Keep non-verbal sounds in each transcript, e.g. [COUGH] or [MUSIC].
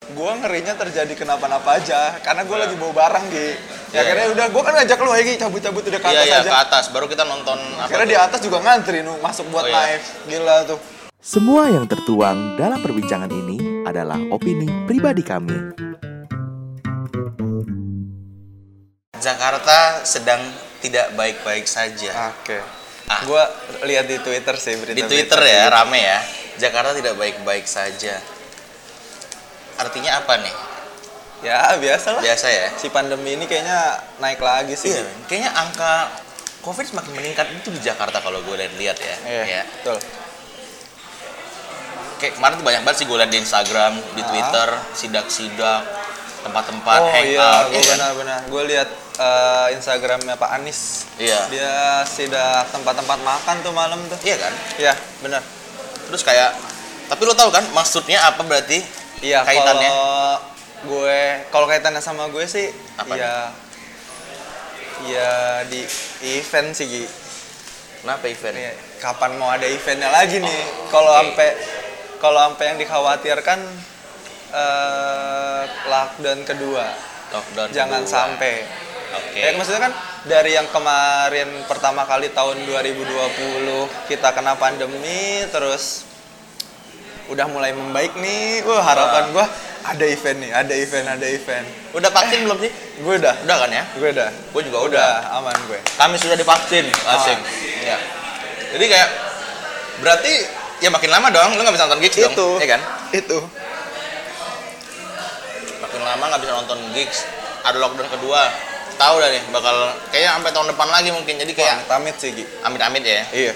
gue ngerinya terjadi kenapa-napa aja karena Iya. gue lagi bawa barang gitu ya akhirnya udah gue kan ngajak lu lagi cabut-cabut udah ke Iya atas iya aja ke atas. Baru kita nonton akhirnya di tuh? atas juga ngantri nu masuk buat Oh, iya. live gila tuh Semua yang tertuang dalam perbincangan ini adalah opini pribadi kami. Jakarta sedang tidak baik-baik saja. oke Ah. gue lihat gitu. di twitter sih berita Di Twitter ya rame ya. Jakarta tidak baik-baik saja. Artinya apa nih? ya biasa lah Biasa ya. si pandemi ini kayaknya naik lagi sih Iya, kayaknya angka COVID semakin meningkat itu di Jakarta kalau gue lihat ya. Iya, Ya. betul Kayak kemarin tuh banyak banget sih gue lihat di Instagram, di Ah. Twitter, sidak-sidak, tempat-tempat oh iya gue hangout. ya kan? benar-benar gue lihat eh, instagramnya pak Anies Iya. dia sidak tempat-tempat makan tuh malam tuh Iya kan? iya benar Terus kayak tapi lo tau kan maksudnya apa berarti? Iya, Kaitannya? kalau gue kalau kaitannya sama gue sih Apa ya ya di event sih Gi. Kenapa event? Ya, kapan mau ada eventnya lagi nih kalau oke. sampai kalau sampai yang dikhawatirkan eh lockdown kedua Lockdown. jangan kedua. sampai Oke. ya maksudnya kan dari yang kemarin pertama kali tahun 2020 kita kena pandemi terus udah mulai membaik nih wah harapan gua ada event nih ada event ada event Udah vaksin belum sih? gue udah Udah kan ya? gue udah Gue juga udah. udah aman gue Kami sudah divaksin. Asik. Ah. Iya. Jadi kayak berarti ya makin lama dong lo nggak bisa nonton gigs itu dong, ya kan? itu makin lama nggak bisa nonton gigs ada lockdown kedua tahu dah nih bakal kayaknya sampai tahun depan lagi mungkin jadi kayak amit sih Gi. amit-amit ya iya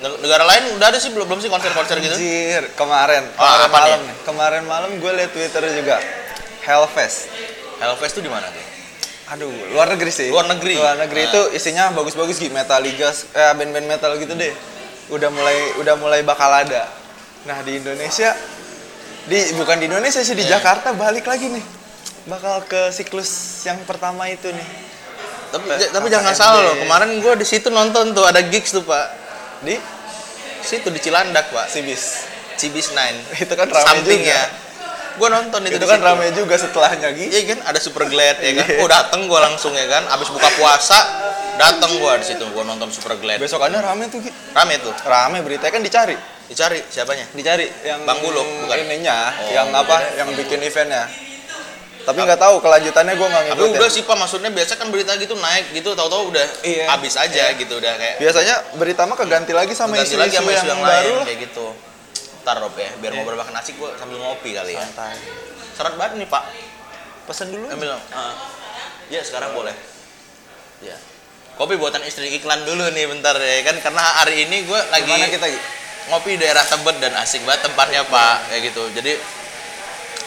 Neg- negara lain udah ada sih belum belum sih konser-konser gitu Anjir, kemarin Oh, kemarin apa malam nih? nih. kemarin malam gue liat twitter juga Hellfest Hellfest tuh di mana tuh Aduh, luar negeri sih. Luar negeri. Luar negeri Nah. itu isinya bagus-bagus gitu, Metallica, eh, band-band metal gitu deh. Udah mulai udah mulai bakal ada. Nah, di Indonesia di bukan di Indonesia sih di Iya. Jakarta balik lagi nih. Bakal ke siklus yang pertama itu nih. tapi Apa? ja- tapi Apa jangan MD? salah loh kemarin gue di situ nonton tuh ada gigs tuh pak Di situ di Cilandak pak Sibis. Cibis Nine [LAUGHS] Itu kan ramai samping juga. ya gue nonton itu, Itu di kan situ. ramai juga setelahnya gitu. Iya kan ada super glad ya kan. Iya. Oh dateng gue langsung ya kan. Abis buka puasa dateng gue di situ gue nonton super glad. Besokannya rame tuh, Gi. Rame tuh. Rame beritanya kan dicari. Dicari siapanya? dicari yang Bang Bulog, bukan? ininya Oh, yang apa iya. yang bikin eventnya tapi nggak tahu kelanjutannya gue nggak Tapi ngikutin udah sih pak, maksudnya biasa kan berita gitu naik gitu, tahu-tahu udah Iya. habis aja gitu udah kayak biasanya berita mah keganti lagi sama ganti isu-isu lagi sama yang, isu yang lain baru Iya. lah kayak gitu. Ntar Rob ya, biar ngobrol makan nasi gue sambil ngopi kali ya. santai Seret banget nih pak, pesan Iya. dulu ambil dong. Ah. Iya sekarang boleh. Iya. Kopi buatan istri iklan dulu nih bentar ya kan karena hari ini gue lagi gimana kita Gi? ngopi di daerah Tebet dan asik banget tempatnya pak kayak gitu jadi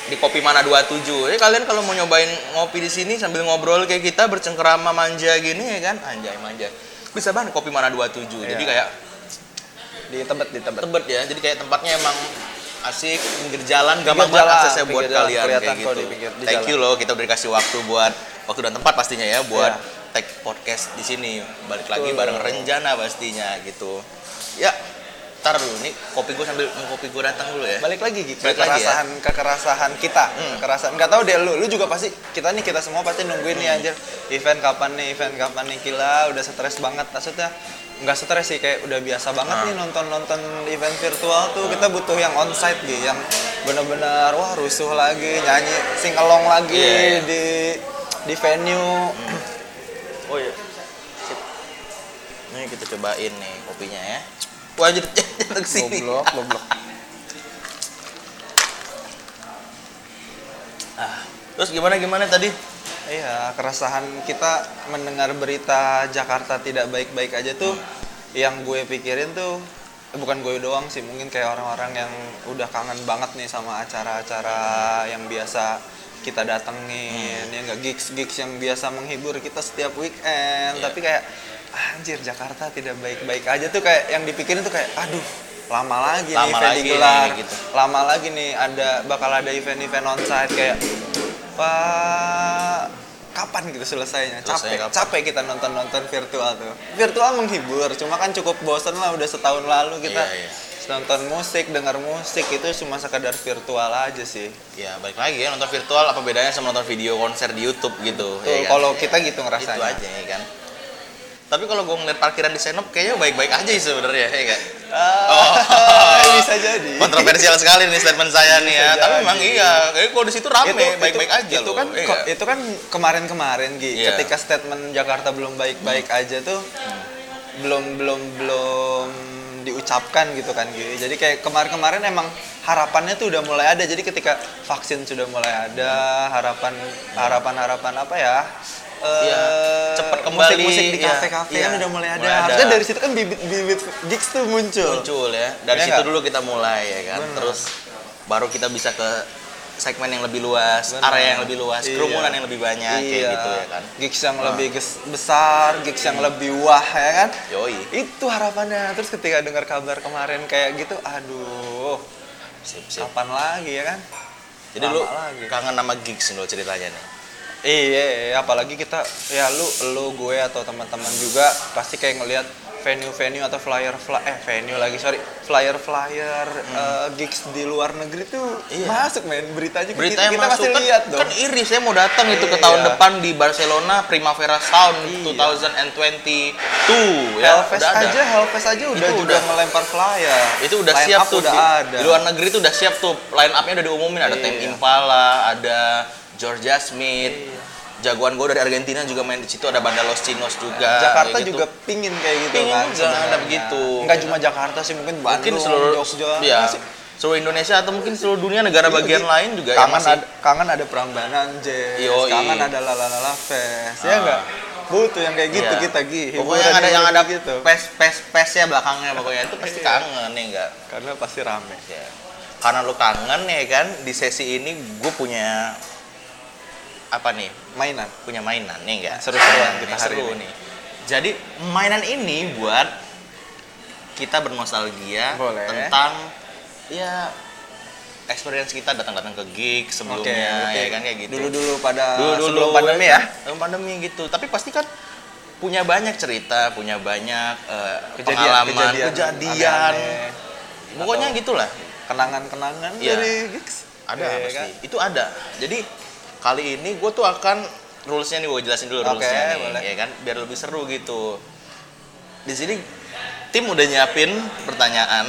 di kopi mana 27 jadi kalian kalau mau nyobain ngopi di sini sambil ngobrol kayak kita bercengkerama manja gini ya kan anjay manja bisa banget kopi mana 27 jadi Iya. kayak di tebet di tebet Tebet ya jadi kayak tempatnya emang asik pinggir jalan Pinggir gampang banget jalan, aksesnya buat pinggir jalan, kalian kelihatan kayak kok gitu di pinggir- di thank jalan. you loh kita udah dikasih waktu buat waktu dan tempat pastinya ya buat Iya. take podcast di sini balik lagi Betul. bareng Renjana pastinya gitu ya ntar dulu nih kopi gue sambil mau kopi gue datang dulu ya balik lagi gitu Balik lagi ya. kekerasahan kekerasahan kita Hmm. kekerasan nggak tahu deh lu lu juga pasti kita nih kita semua pasti nungguin Hmm. nih anjir event kapan nih event kapan nih gila udah stres banget maksudnya nggak stres sih kayak udah biasa banget Ah. nih nonton nonton event virtual tuh kita butuh yang onsite gitu yang bener-bener wah rusuh lagi nyanyi sing along lagi Iya, iya. Hmm. di di venue oh iya Sip. nih kita cobain nih kopinya ya wah jadi [LAUGHS] jatuh ke sini goblok goblok Ah, terus gimana gimana tadi Iya, keresahan kita mendengar berita Jakarta tidak baik-baik aja tuh yang gue pikirin tuh eh, bukan gue doang sih, mungkin kayak orang-orang yang udah kangen banget nih sama acara-acara yang biasa kita datengin, Hmm. ya enggak gigs-gigs yang biasa menghibur kita setiap weekend, Iya. tapi kayak "Ah, anjir Jakarta tidak baik-baik aja tuh kayak yang dipikirin tuh kayak aduh lama lagi Lama nih event lagi nih, digelar gitu. lama lagi nih ada bakal ada event-event onsite kayak Pak kapan gitu selesainya Selesai capek kapan? capek kita nonton nonton virtual tuh virtual menghibur cuma kan cukup bosen lah udah setahun lalu kita Iya, iya. nonton musik, dengar musik itu cuma sekadar virtual aja sih. Ya balik lagi ya nonton virtual apa bedanya sama nonton video konser di YouTube Tuh, gitu. ya kan? kalau kita gitu itu ngerasanya. aja ya kan. Tapi kalau gue ngeliat parkiran di Senop kayaknya baik-baik aja sih sebenarnya ya [LAUGHS] kan. Ah, Oh. [LAUGHS] bisa jadi. Kontroversial sekali nih statement saya nih ya. [LAUGHS] Bisa Tapi jadi. memang iya, kayaknya kalau di situ rame, baik-baik aja itu loh. kan iya ko- nggak? itu kan kemarin-kemarin Gi, Iya. Hmm. ketika statement Jakarta belum baik-baik aja tuh belum belum belum diucapkan gitu kan Gi. Jadi kayak kemarin-kemarin emang harapannya tuh udah mulai ada. Jadi ketika vaksin sudah mulai ada, harapan harapan harapan apa ya? eh, Iya, cepet kembali, musik-musik di iya, kafe-kafe iya, kan udah mulai ada. mulai ada. Harusnya dari situ kan bibit-bibit gigs tuh muncul. muncul ya. Dari Iya situ nggak? dulu kita mulai ya kan. Benar. Terus baru kita bisa ke segmen yang lebih luas, Benar. area yang lebih luas, Iya. kerumunan yang lebih banyak kayak gitu ya kan. Gigs yang lebih ges- besar, gigs yang lebih wah ya kan. Yoi. Itu harapannya. Terus ketika dengar kabar kemarin kayak gitu, aduh, Sip, sip. kapan lagi ya kan? Jadi lu Lama lagi. kangen sama gigs lo ceritanya nih. Iya, apalagi kita ya lu lu gue atau teman-teman juga pasti kayak ngelihat venue-venue atau flyer fly, eh venue lagi sorry flyer flyer eh, gigs di luar negeri tuh Hmm. Iya. masuk men beritanya ke Berita yang kita, kita masuk pasti kan, lihat dong kan iri saya mau datang itu ke Iya. tahun depan di Barcelona Primavera Sound Iya. 2022 ya. Hellfest udah ada. aja, Hellfest aja udah Itu juga udah. ngelempar flyer. itu udah Line siap up tuh udah di, ada. di luar negeri tuh udah siap tuh line up-nya udah diumumin ada Tame Iya. Impala, ada Georgia Smith. Jagoan gue dari Argentina juga main di situ ada Banda Los Chinos juga. Eh, Jakarta kayak gitu. juga pingin kayak gitu Pingin kan. juga, sebenarnya. ada begitu. Enggak cuma Jakarta sih, mungkin mungkin Bandung, seluruh Jogja. iya, Masih- seluruh Indonesia atau mungkin seluruh dunia negara Iya, bagian iya. lain juga yang kangen masih- ada kangen ada Prambanan, Jess. Yoi. Kangen ada lalalala fest. Ya Ah. enggak? Butuh yang kayak gitu Iya. kita Gi. Pokoknya yang Hiburan ada yang ada gitu. Iya. pes pes pesnya belakangnya pokoknya itu pasti kangen ya enggak. Karena pasti rame. Ya. Karena lu kangen ya kan di sesi ini gue punya apa nih? Mainan. Punya mainan nih enggak? Seru-seruan kita Nih, hari seru ini. nih. Jadi mainan ini buat kita bernostalgia Boleh. tentang ya experience kita datang-datang ke gig sebelumnya ya kan kayak gitu. Dulu-dulu pada dulu dulu Eh, sebelum pandemi ya. sebelum pandemi gitu tapi pasti kan punya banyak cerita punya banyak eh, Kejadian- pengalaman kejadian kejadian, aneh-aneh. pokoknya gitulah kenangan-kenangan Iya. dari gigs ada Iya, pasti kan? itu ada jadi kali ini gue tuh akan rulesnya nih gue jelasin dulu Oke, rulesnya nih boleh. ya kan biar lebih seru gitu di sini tim udah nyiapin pertanyaan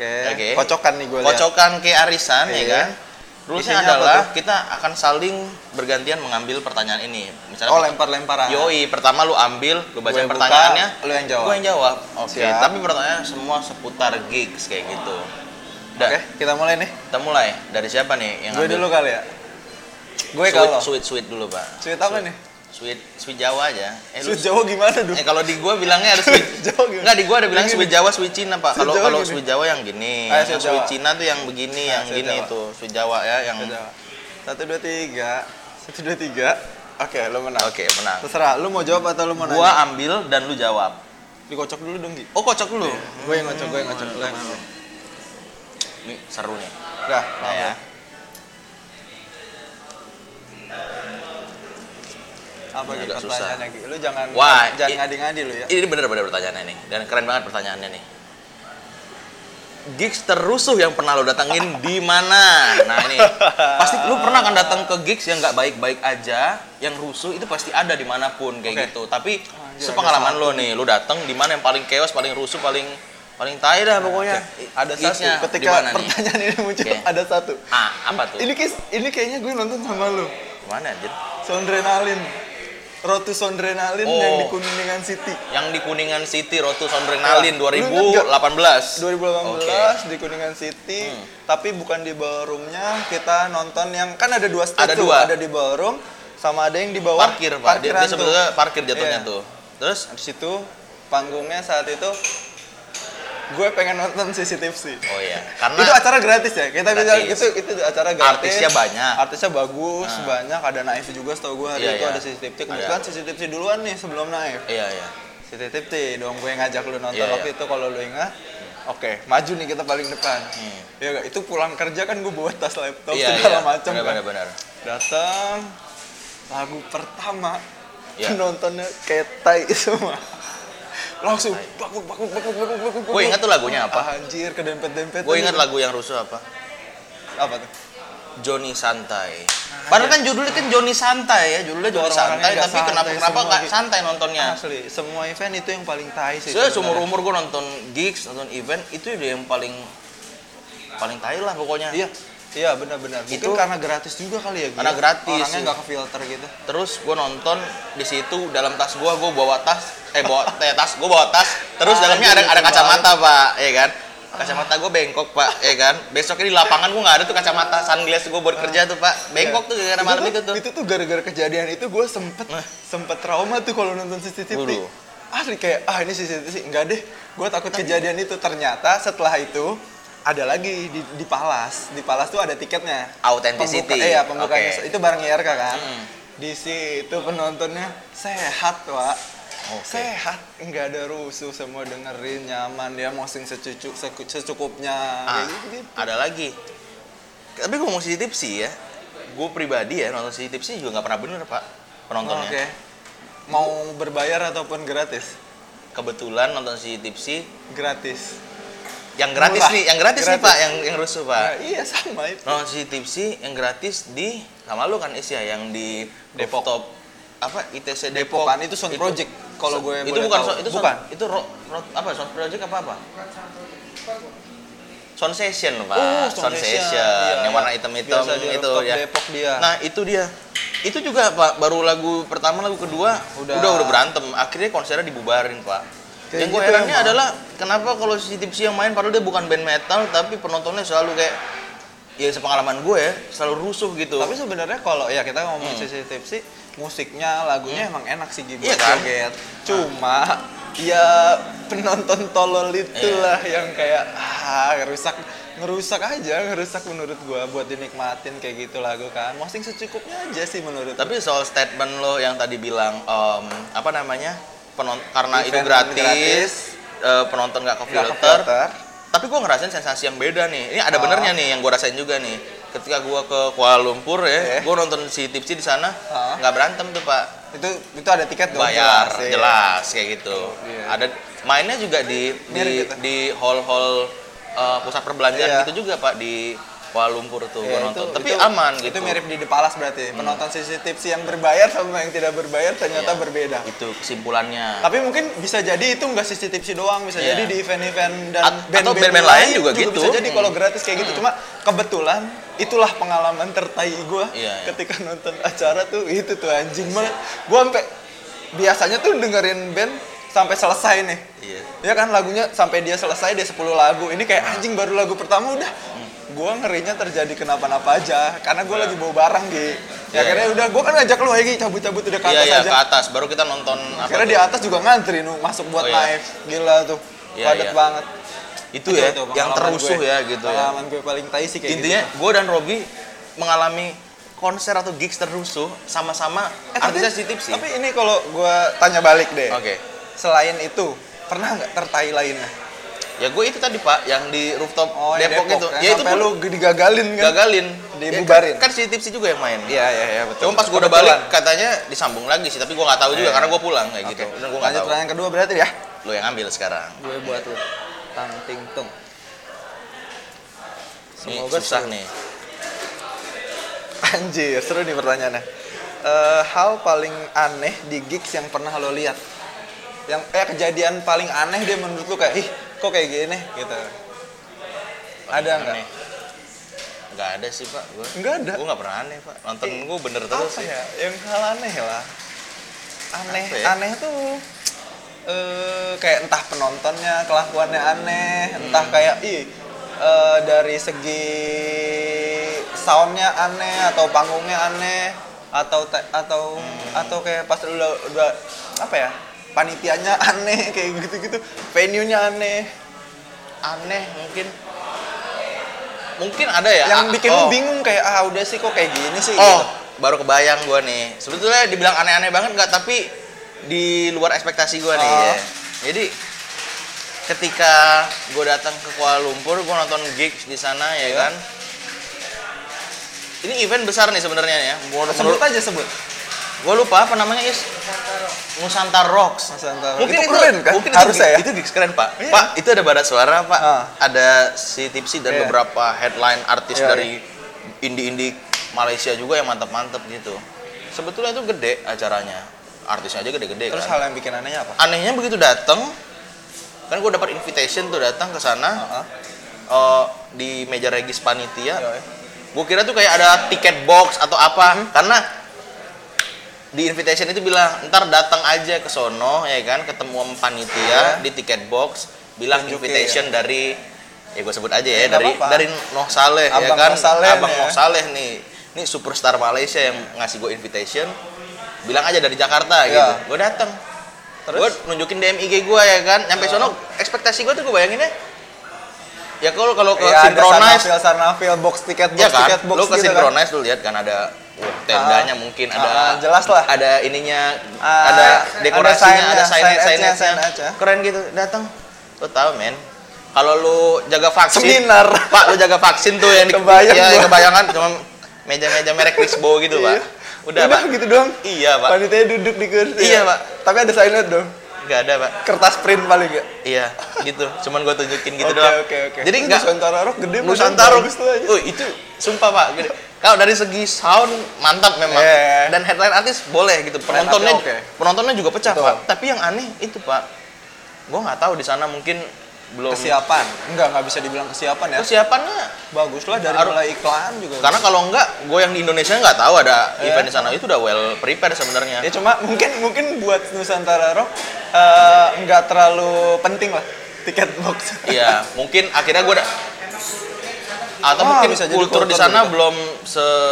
Oke. Oke. Kocokan nih gue lihat. kocokan ke arisan ya Iya. kan rulesnya Isinya apa adalah tuh? kita akan saling bergantian mengambil pertanyaan ini misalnya Oh pertanyaan- lempar-lemparan. Yoi, pertama lu ambil, lu baca Gua yang buka, pertanyaannya, lu yang jawab. Gua yang jawab. Oke, Siap. tapi pertanyaannya semua seputar gigs kayak gitu. Oke, Udah, kita mulai nih. kita mulai. Dari siapa nih yang Gue ambil? dulu kali ya. Gue Sweet- kalau. Sweet, sweet dulu, Pak. Sweet apa nih? Sweet, sweet Jawa aja. Eh, lu- Sweet Jawa gimana dulu? eh, kalau di gua bilangnya ada [LAUGHS] sweet. Jawa gimana? Enggak, di gua ada bilang Yang sweet gini. Jawa, sweet Cina, Pak. Sweet Kalau Jawa kalau gini. sweet Jawa yang Ah, gini, yang sweet sweet, Jawa. Cina tuh yang begini, Ah, yang sweet gini Jawa. tuh, sweet Jawa ya, yang Sweet Jawa. Satu dua tiga. Satu dua tiga. Oke, lu menang. Oke, menang. Terserah, lu mau jawab atau lu mau Gua nanya? ambil dan lu jawab. Dikocok dulu dong, Gi. Oh, kocok dulu. Gue yang ngocok, gue yang ngocok. Lu yang ngocok. Ini seru nih. Dah, Nah, ya. Apa Ini gitu agak susah. pertanyaannya, Gi? Lu jangan Wah, jangan i- ngadi-ngadi lu ya. Ini bener-bener pertanyaannya nih dan keren banget pertanyaannya nih. Gigs terusuh yang pernah lo [LAUGHS] datengin di mana? Nah ini pasti lu pernah kan datang ke gigs yang nggak baik-baik aja, yang rusuh itu pasti ada dimanapun kayak Oke. Ah, gitu. Tapi Anjir, sepengalaman lo nih, lo datang di mana yang paling chaos, paling rusuh, paling paling tai dah pokoknya. Nah, Oke, Ada satu Gigsnya di ketika mana nih? pertanyaan ini muncul Oke. ada satu. Ah, apa tuh? Ini kis- ini kayaknya gue nonton sama lu. Mana anjir? Sondrenalin. Rotu Sondrenalin Oh. yang di Kuningan City. Yang di Kuningan City Rotu Sondrenalin Lu ingat nggak? 2018. 2018 Oke. Hmm. di Kuningan City, tapi bukan di ballroomnya. Kita nonton yang kan ada dua statue, Ada dua. ada di ballroom sama ada yang di bawah parkir pak dia, parkiran dia sebetulnya tuh. parkir jatuhnya Iya. tuh terus Di situ panggungnya saat itu gue pengen nonton CCTV. oh iya karena itu acara gratis ya kita bisa Gratis. itu itu acara gratis Artisnya banyak. Nah. artisnya bagus banyak ada naif juga setahu gue hari Iya, itu iya. ada CCTV Ada. kebetulan CCTV duluan nih sebelum naif iya iya CCTV dong gue ngajak lu nonton Iya, iya. waktu itu kalau lu ingat Oke, maju nih kita paling depan. Ya nggak? itu pulang kerja kan gue bawa tas laptop Hmm. iya segala macam benar kan. benar benar Datang lagu pertama [LAUGHS] Iya. penontonnya kayak tai semua. langsung bakut bakut bakut bakut bakut Gue ingat tuh lagunya apa? anjir kedempet dempet Gue ingat lagu yang rusuh apa? apa tuh Joni Santai. Padahal kan judulnya kan Joni Santai ya, judulnya Ah, iya. Joni Orang-orang Santai, yang nggak tapi kenapa santai kenapa semua nggak gitu. santai nontonnya? asli semua event itu yang paling tai sih Saya sebenarnya. seumur umur gue nonton gigs, nonton event itu udah yang paling paling tai lah pokoknya. iya iya benar-benar mungkin Itu- karena gratis juga kali ya Gi? Karena gratis, orangnya iya. nggak ke filter gitu Terus gue nonton di situ dalam tas gue gue bawa tas eh bawa [LAUGHS] eh, tas gue bawa tas terus Ah, dalamnya ada iya, ada iya, kacamata pak ya kan kacamata gue bengkok pak ya kan besoknya di lapangan gue nggak ada tuh kacamata sunglass gue buat kerja tuh pak bengkok tuh gara-gara malam itu tuh Ah. itu tuh gara-gara kejadian itu gue sempet Nah. sempet trauma tuh kalau nonton CCTV Waduh. asli kayak ah ini CCTV sih enggak deh gue takut kejadian itu ternyata setelah itu ada lagi di, di Palas di Palas tuh ada tiketnya Authenticity. Pembuka- iya pembukanya Oke. itu bareng IRK kan Hmm. di situ penontonnya sehat pak sehat nggak ada rusuh semua dengerin nyaman dia mosing secucu secu- secukupnya Ah, kayak gitu ada lagi. Tapi gue mau CCTV sih ya. Gue pribadi ya nonton CCTV sih juga nggak pernah bener pak oke penontonnya. mau berbayar ataupun gratis Kebetulan nonton CCTV sih gratis yang gratis Murah. nih, yang gratis, nih Gratis. pak, yang yang rusuh Nah, pak. iya sama itu. Nonton CCTV sih yang gratis di sama lu kan Isya yang di Depok. rooftop apa ITC Depok. Depokan itu sound project kalau gue itu boleh bukan tahu. sound- itu Bukan. bukan itu ro, ro- apa sound project apa apa sound session pak Oh, sound sound, session, session. Iya, yang iya. warna hitam hitam Biasa di itu rooftop ya Depok dia. nah itu dia itu juga pak baru lagu pertama lagu kedua udah Udah. udah, berantem akhirnya konsernya dibubarin pak Kayak yang gue gitu herannya emang. adalah kenapa kalau si Tipsy yang main padahal dia bukan band metal tapi penontonnya selalu kayak ya sepengalaman gue ya selalu rusuh gitu Tapi sebenarnya kalau ya kita ngomongin Hmm. sisi tips sih, musiknya lagunya emang enak sih gitu Iya kan? Ah. joget. Cuma ya penonton tolol itulah Iya. yang kayak ah ngerusak ngerusak aja, ngerusak menurut gua buat dinikmatin kayak gitu lagu kan. Mosing secukupnya aja sih menurut Tapi soal statement lo yang tadi bilang em, apa namanya penon- karena itu Event gratis, gratis. eh, penonton nggak ke Nggak ke filter. filter. Tapi gue ngerasain sensasi yang beda nih. Ini Ah. ada benernya nih yang gue rasain juga nih. Ketika gue ke Kuala Lumpur Iya. ya, gue nonton si Tipsy di sana Ah. nggak berantem tuh pak, itu itu ada tiket dong, bayar jelas, ya. kayak gitu. Iya. Ada mainnya juga di di Mirip gitu. di hall-hall eh, pusat Iya. perbelanjaan gitu juga pak di Kuala Lumpur tuh Ya, gue nonton. itu- Tapi itu- aman gitu. Itu Hmm. mirip di The Palace berarti. Penonton CCTV sih yang berbayar sama yang tidak berbayar ternyata Iya. berbeda. Itu kesimpulannya. Tapi mungkin bisa jadi itu nggak CCTV sih doang, bisa Iya. jadi di event-event dan At- atau band-band lain juga gitu. Bisa jadi kalau Hmm. gratis kayak gitu. Cuma kebetulan itulah pengalaman tertai gue Iya, iya. ketika nonton acara tuh itu tuh anjing banget. Gue sampai biasanya tuh dengerin band sampai selesai nih. Iya. Ya kan lagunya sampai dia selesai dia 10 lagu. Ini kayak anjing baru lagu pertama udah. Hmm. Gua ngerinya terjadi kenapa-napa aja karena gua lagi bawa barang gitu. Iya, Ya akhirnya udah gua kan ngajak lu lagi cabut-cabut udah ke Iya atas iya aja. ke atas baru kita nonton apa Akhirnya di tuh? atas juga ngantri nu masuk buat Oh, iya. live. Gila tuh. Iya, Padat iya. banget. itu ya tuh yang pengalaman terusuh gue. ya gitu ya. Pengalaman gue paling tai sih kayak Intinya gitu. gue dan Robi mengalami konser atau gigs terusuh sama-sama Eh, tapi, artisnya Sitip sih. tapi ini kalau gua tanya balik deh. Oke. Selain itu, pernah nggak tertai lainnya? Ya gue itu tadi Pak yang di rooftop yang Depok, itu. kan? Ya itu sampai pun lu digagalin kan? gagalin. Dibubarin. Ya, kan, kan si Tipsy juga yang main. Iya, iya, iya betul. Cuma pas gue udah Kebetulan. balik katanya disambung lagi sih, tapi gue nggak tahu juga Iya. karena gue pulang kayak gitu. Oke, Dan gue nggak lanjut tahu. pertanyaan kedua berarti ya. Lo yang ambil sekarang. Gue buat lu. Tang ting tung. Ini Semoga susah seru. nih. Anjir, seru nih pertanyaannya. Eh, hal paling aneh di gigs yang pernah lo lihat? Yang eh kejadian paling aneh dia menurut lu kayak ih kok kayak gini gitu. Ada nggak? Aneh. Nggak ada sih Pak. Gue Nggak ada. Gue nggak pernah aneh Pak. Nonton Eh, gue bener terus Apa sih. ya? Yang hal aneh lah. Aneh, Apa ya? aneh tuh eh kayak entah penontonnya kelakuannya aneh, entah Hmm. kayak ih eh, dari segi soundnya aneh atau panggungnya aneh atau te- atau Hmm. atau kayak pas lu udah, udah apa ya panitianya [LAUGHS] aneh kayak gitu-gitu venue-nya aneh aneh mungkin mungkin ada ya yang ah, bikin oh. lu bingung kayak ah udah sih kok kayak gini sih gitu. oh baru kebayang gua nih sebetulnya dibilang aneh-aneh banget nggak tapi di luar ekspektasi gua nih Oh. ya. jadi ketika gue datang ke Kuala Lumpur gue nonton gigs di sana ya kan ini event besar nih sebenarnya ya gitu. sebut aja sebut gue lupa apa namanya is Nusantara Rocks Nusantara. mungkin Itu itu, keren kan? mungkin Harusnya ya? itu, itu gigs keren pak Iya. pak itu ada barat suara pak Ah. ada si Tipsy dan Iya. beberapa headline artis Iya, dari indie-indie Malaysia juga yang mantap-mantap gitu sebetulnya itu gede acaranya artisnya aja gede-gede Terus kan hal yang bikin anehnya apa? anehnya begitu datang kan gue dapat invitation tuh datang ke sana Heeh. eh, di meja regis panitia Yoi. gue kira tuh kayak ada tiket box atau apa Mhm. karena di invitation itu bilang ntar datang aja ke sono ya kan ketemu sama panitia Iya. di tiket box bilang Tunjukin, iya. invitation dari ya gue sebut aja ya nggak dari apa-apa. dari Noh Saleh ya Abang kan Noh Saleh abang nih ya. Noh Saleh nih ini superstar Malaysia yang ngasih gue invitation bilang aja dari Jakarta Iya. gitu gue datang gue nunjukin DM IG gue ya kan nyampe Ya. sono ekspektasi gue tuh gue bayanginnya ya kalau kalau ke Iya, ada synchronize Sarnafil, Sarnafil, box tiket, box Iya kan? tiket, box Lo ke gitu kan. Synchronize lu lihat kan ada wah, tendanya mungkin ada Ah, jelas lah. ada ininya Ah, ada ada dekorasinya sign-nya, ada sign signage edge-nya, sign signage edge-nya. keren gitu datang lo tahu men kalau lu jaga vaksin Seminar. pak lu jaga vaksin tuh yang di- Kebayang ya, gua. kebayangan cuma meja-meja merek Lisbo gitu pak Iya. udah, [LAUGHS] pak gitu doang. iya pak Panitia duduk di kursi. ya. Iya, Pak. Tapi ada signet dong. nggak ada pak Kertas print paling enggak. iya gitu cuman gue tunjukin gitu Oke, doang Oke, oke. jadi Itu nggak Nusantara Rock gede padahal Nusantara. bagus tuh aja. Oh, itu sumpah Pak. Gede. Kalau dari segi sound mantap memang. Iya. Dan headline artis boleh gitu. Penontonnya oke. penontonnya juga pecah, Betul. Pak. Tapi yang aneh itu, Pak. Gua nggak tahu di sana mungkin belum Kesiapan. Enggak, enggak bisa dibilang kesiapan ya. Kesiapannya Bagus lah dari Harus- mulai iklan juga. karena kalau enggak, gue yang di Indonesia nggak tahu ada Iya. event di sana itu udah well prepared sebenarnya. ya cuma mungkin mungkin buat Nusantara Rock eh, enggak terlalu penting lah tiket box. Iya, mungkin akhirnya gue atau Ah, mungkin bisa jadi kultur di kultur sana juga. belum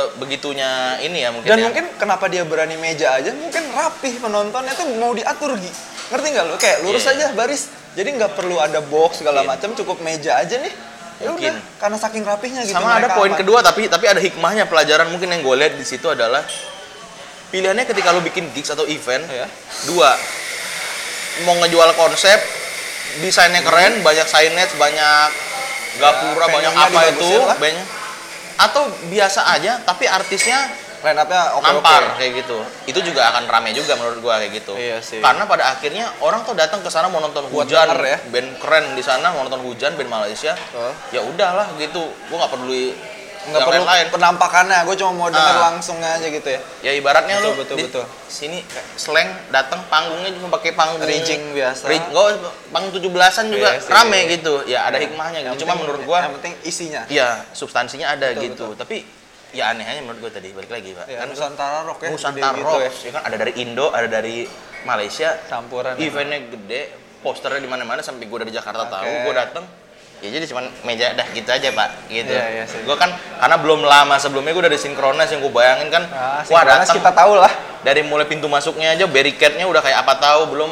sebegitunya ini ya mungkin Dan ya. mungkin kenapa dia berani meja aja, mungkin rapih penontonnya tuh mau diatur Gi. Ngerti nggak lo? Kayak lurus Iya. aja baris. Jadi nggak perlu ada box segala Mungkin. macam, cukup meja aja nih. Ya Mungkin. udah, karena saking rapihnya gitu. sama ada mereka poin aman. kedua tapi tapi ada hikmahnya pelajaran mungkin yang gue lihat di situ adalah pilihannya ketika lo bikin gigs atau event Iya. dua mau ngejual konsep desainnya keren banyak signage banyak Hmm. gapura Ya, banyak venue-nya apa itu dibagusin lah. banyak atau biasa aja tapi artisnya Line up-nya oke-oke. nampar kayak gitu itu juga akan rame juga menurut gua kayak gitu Iya sih. karena pada akhirnya orang tuh datang ke sana mau nonton Buat hujan denger ya. band keren di sana mau nonton hujan band Malaysia Betul. ya udahlah gitu gua nggak perlu Nggak perlu penampakannya, gue cuma mau denger Ah. langsung aja gitu ya. ya ibaratnya Betul, lu betul, di betul. sini slang datang panggungnya cuma pakai panggung Rigging biasa. Rig- nggak, panggung 17-an juga Iya sih. rame gitu ya ada hikmahnya Yang gitu cuma penting- menurut gua yang penting isinya. ya substansinya ada Betul, gitu tapi ya aneh aja menurut gua tadi balik lagi pak Ya, kan Nusantara Rock ya. gede Nusantara gitu Rocks, ya kan ada dari Indo ada dari Malaysia Campuran. eventnya gede posternya di mana-mana sampai gue dari Jakarta tahu Oke. gue dateng ya jadi cuman meja dah gitu aja pak gitu Iya, iya sih. gue kan karena belum lama sebelumnya gue dari sinkronas yang gue bayangin kan Nah, wah datang kita tahu lah. dari mulai pintu masuknya aja barricade-nya udah kayak apa tahu belum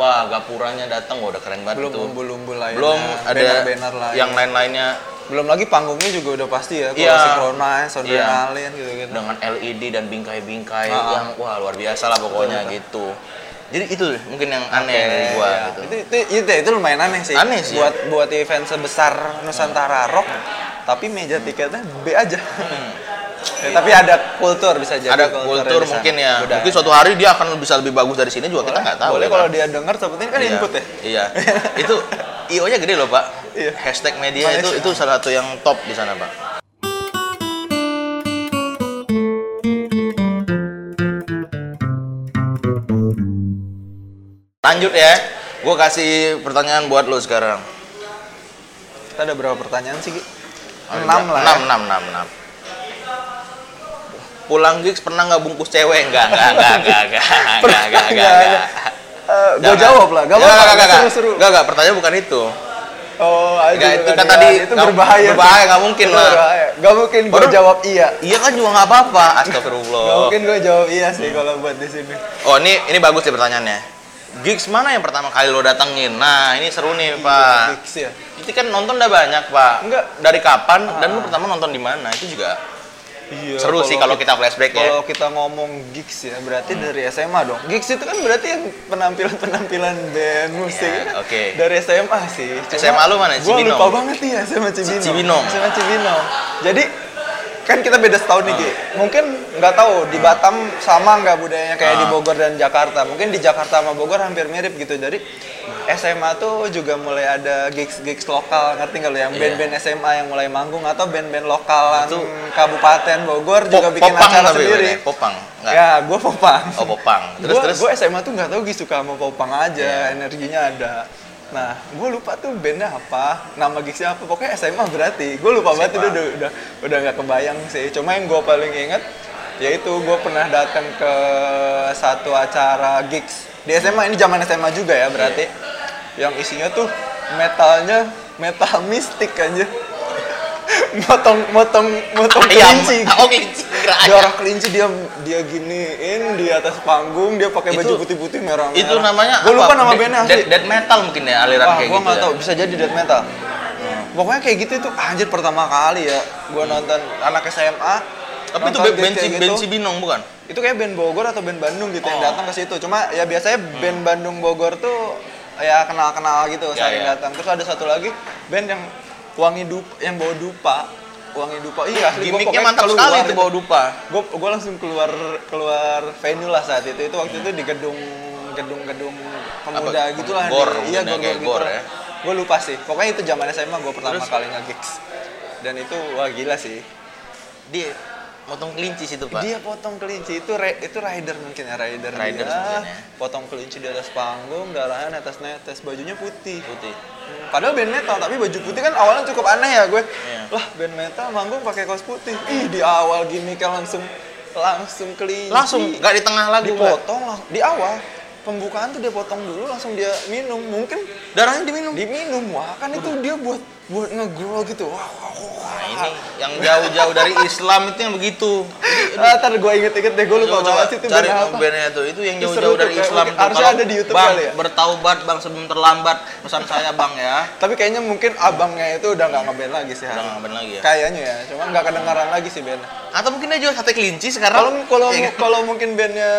wah gapuranya datang wah udah keren banget Belum itu umbul-umbul lainnya, belum ada banner-banner lain. yang lain-lainnya Belum lagi panggungnya juga udah pasti ya, kalau Iya. synchronize, sound Iya. adrenalin gitu-gitu. dengan LED dan bingkai-bingkai Ah. yang wah luar biasa lah pokoknya gitu. Jadi itu mungkin yang aneh dari gua Iya. gitu. Itu, itu, itu, itu lumayan aneh sih. Aneh sih, Buat buat event sebesar Nusantara Rock, tapi meja tiketnya B aja. Ya, tapi ada kultur bisa jadi. Hmm. Iya. Ada kulturnya kultur di sana. mungkin ya. Budaya. Mungkin suatu hari dia akan bisa lebih bagus dari sini juga kita nggak tahu. Boleh ya, kalau Pak. dia denger, sebetulnya kan Iya. input ya. Iya. itu IO-nya gede loh, Pak. Iya. Hashtag media itu Malaysia. itu salah satu yang top di sana, Pak. Lanjut ya. Gua kasih pertanyaan buat lo sekarang. Kita ada berapa pertanyaan sih? Gi? Ada Enam berapa? lah. Oh, Enam, ya. enam, enam, enam. Pulang gigs pernah nggak bungkus cewek? Enggak, enggak, enggak, enggak, enggak, [LAUGHS] enggak, enggak, enggak, enggak. Eh, gua jawab lah, gak Enggak, apa-apa, enggak, enggak. seru-seru. Enggak, enggak, pertanyaan bukan itu. Oh, aduh, Enggak, itu aduh, kan aduh, tadi itu nggak- berbahaya. berbahaya, nggak mungkin Itu lah. berbahaya. Nggak mungkin gua Baru- jawab iya. Iya kan juga nggak apa-apa. Nggak Astagfirullah. mungkin gua jawab iya sih kalau buat di sini. Oh, ini ini bagus nih pertanyaannya. Gigs mana yang pertama kali lo datengin? Nah, ini seru nih, Pak. Fix ya. Itu kan nonton udah banyak, Pak. Iya, Enggak. Ah. Dari kapan dan lo pertama nonton di mana? Itu juga Iya, seru sih kalau kita flashback ya. Kalau kita ngomong gigs ya, Hmm. berarti dari SMA dong. Gigs itu kan berarti yang penampilan-penampilan band musik. Iya, kan oke. Dari SMA sih. SMA lu mana? Gue Cibinong? lupa banget nih ya, SMA Cibinong. Cibinong. SMA Cibinong. Jadi kan kita beda setahun Hmm. nih Ki. mungkin nggak tahu di Batam sama nggak budayanya kayak Ah. di Bogor dan Jakarta mungkin di Jakarta sama Bogor hampir mirip gitu jadi SMA tuh juga mulai ada gigs-gigs lokal ngerti nggak lo yang band-band SMA yang mulai manggung atau band-band lokalan Iya. Itu- Kabupaten Bogor juga bikin popang acara tapi sendiri bukan ya? popang enggak ya gue popang oh popang terus terus Iya. terus gue SMA tuh nggak tahu gitu suka sama popang aja energinya ada nah gue lupa tuh bandnya apa nama gigsnya apa pokoknya SMA berarti gue lupa banget itu udah udah udah nggak kebayang sih cuma yang gue paling inget yaitu gue pernah datang ke satu acara gigs di SMA ini zaman SMA juga ya berarti yang isinya tuh metalnya metal mistik aja [LAUGHS] motong motong Ah, iya, motong [LAUGHS] ayam kelinci oh kelinci kira dia ayam. orang kelinci dia dia giniin di atas panggung dia pakai baju Itu- putih-putih merah itu namanya gue lupa apa? nama Dead- bandnya dead, asli dead metal mungkin ya aliran wah kayak gue gitu nggak ya. tahu bisa jadi death metal pokoknya kayak gitu itu anjir pertama kali ya gue nonton anak SMA Hmm. tapi itu nonton be- band benci kayak gitu. benci binong bukan itu kayak band Bogor atau band Bandung gitu yang Oh. Hmm. datang ke situ cuma ya biasanya band Bandung Bogor tuh ya kenal-kenal gitu Ya, sering ya. datang terus ada satu lagi band yang wangi dupa yang bawa dupa wangi dupa iya asli gua gimmicknya pokoknya mantap keluar sekali itu itu bawa dupa gue gue langsung keluar keluar venue lah saat itu itu waktu itu di gedung gedung gedung pemuda Apa? gitulah Gor, di, iya mungkin ya, gor gitu kayak gor ya. gue lupa sih pokoknya itu zaman SMA gue pertama Terus? kali nge-gigs dan itu wah gila sih dia motong kelinci situ pak dia potong kelinci itu re- itu rider mungkin ya rider, dia Rider mungkin ya. potong kelinci di atas panggung darahan atas netes bajunya putih putih Hmm, Padahal band metal, tapi baju putih kan awalnya cukup aneh ya gue. Iya. Lah band metal manggung pakai kaos putih. Ih di awal gini kan langsung langsung kelinci. langsung nggak di tengah lagi pak dipotong lah di awal pembukaan tuh dia potong dulu langsung dia minum mungkin darahnya diminum diminum wah kan itu dia buat buat ngegrow gitu wah, wah, wah. Nah, ini yang jauh-jauh dari Islam itu yang begitu. Ah, ntar gue inget-inget deh gue lupa banget sih itu cari bandnya apa bandnya tuh itu yang Itu seru jauh-jauh tuh, dari kayak Islam. mungkin- tuh. harusnya Kalau, ada di YouTube bang, kali ya?" Bertaubat bang sebelum terlambat pesan saya bang ya. tapi kayaknya mungkin abangnya itu udah nggak ngeband lagi sih Udah Har. nggak bener lagi ya. kayaknya ya cuma nggak kedengaran lagi sih bandnya Atau mungkin dia jual sate kelinci sekarang. kalau kalau Iya kan? kalau mungkin bandnya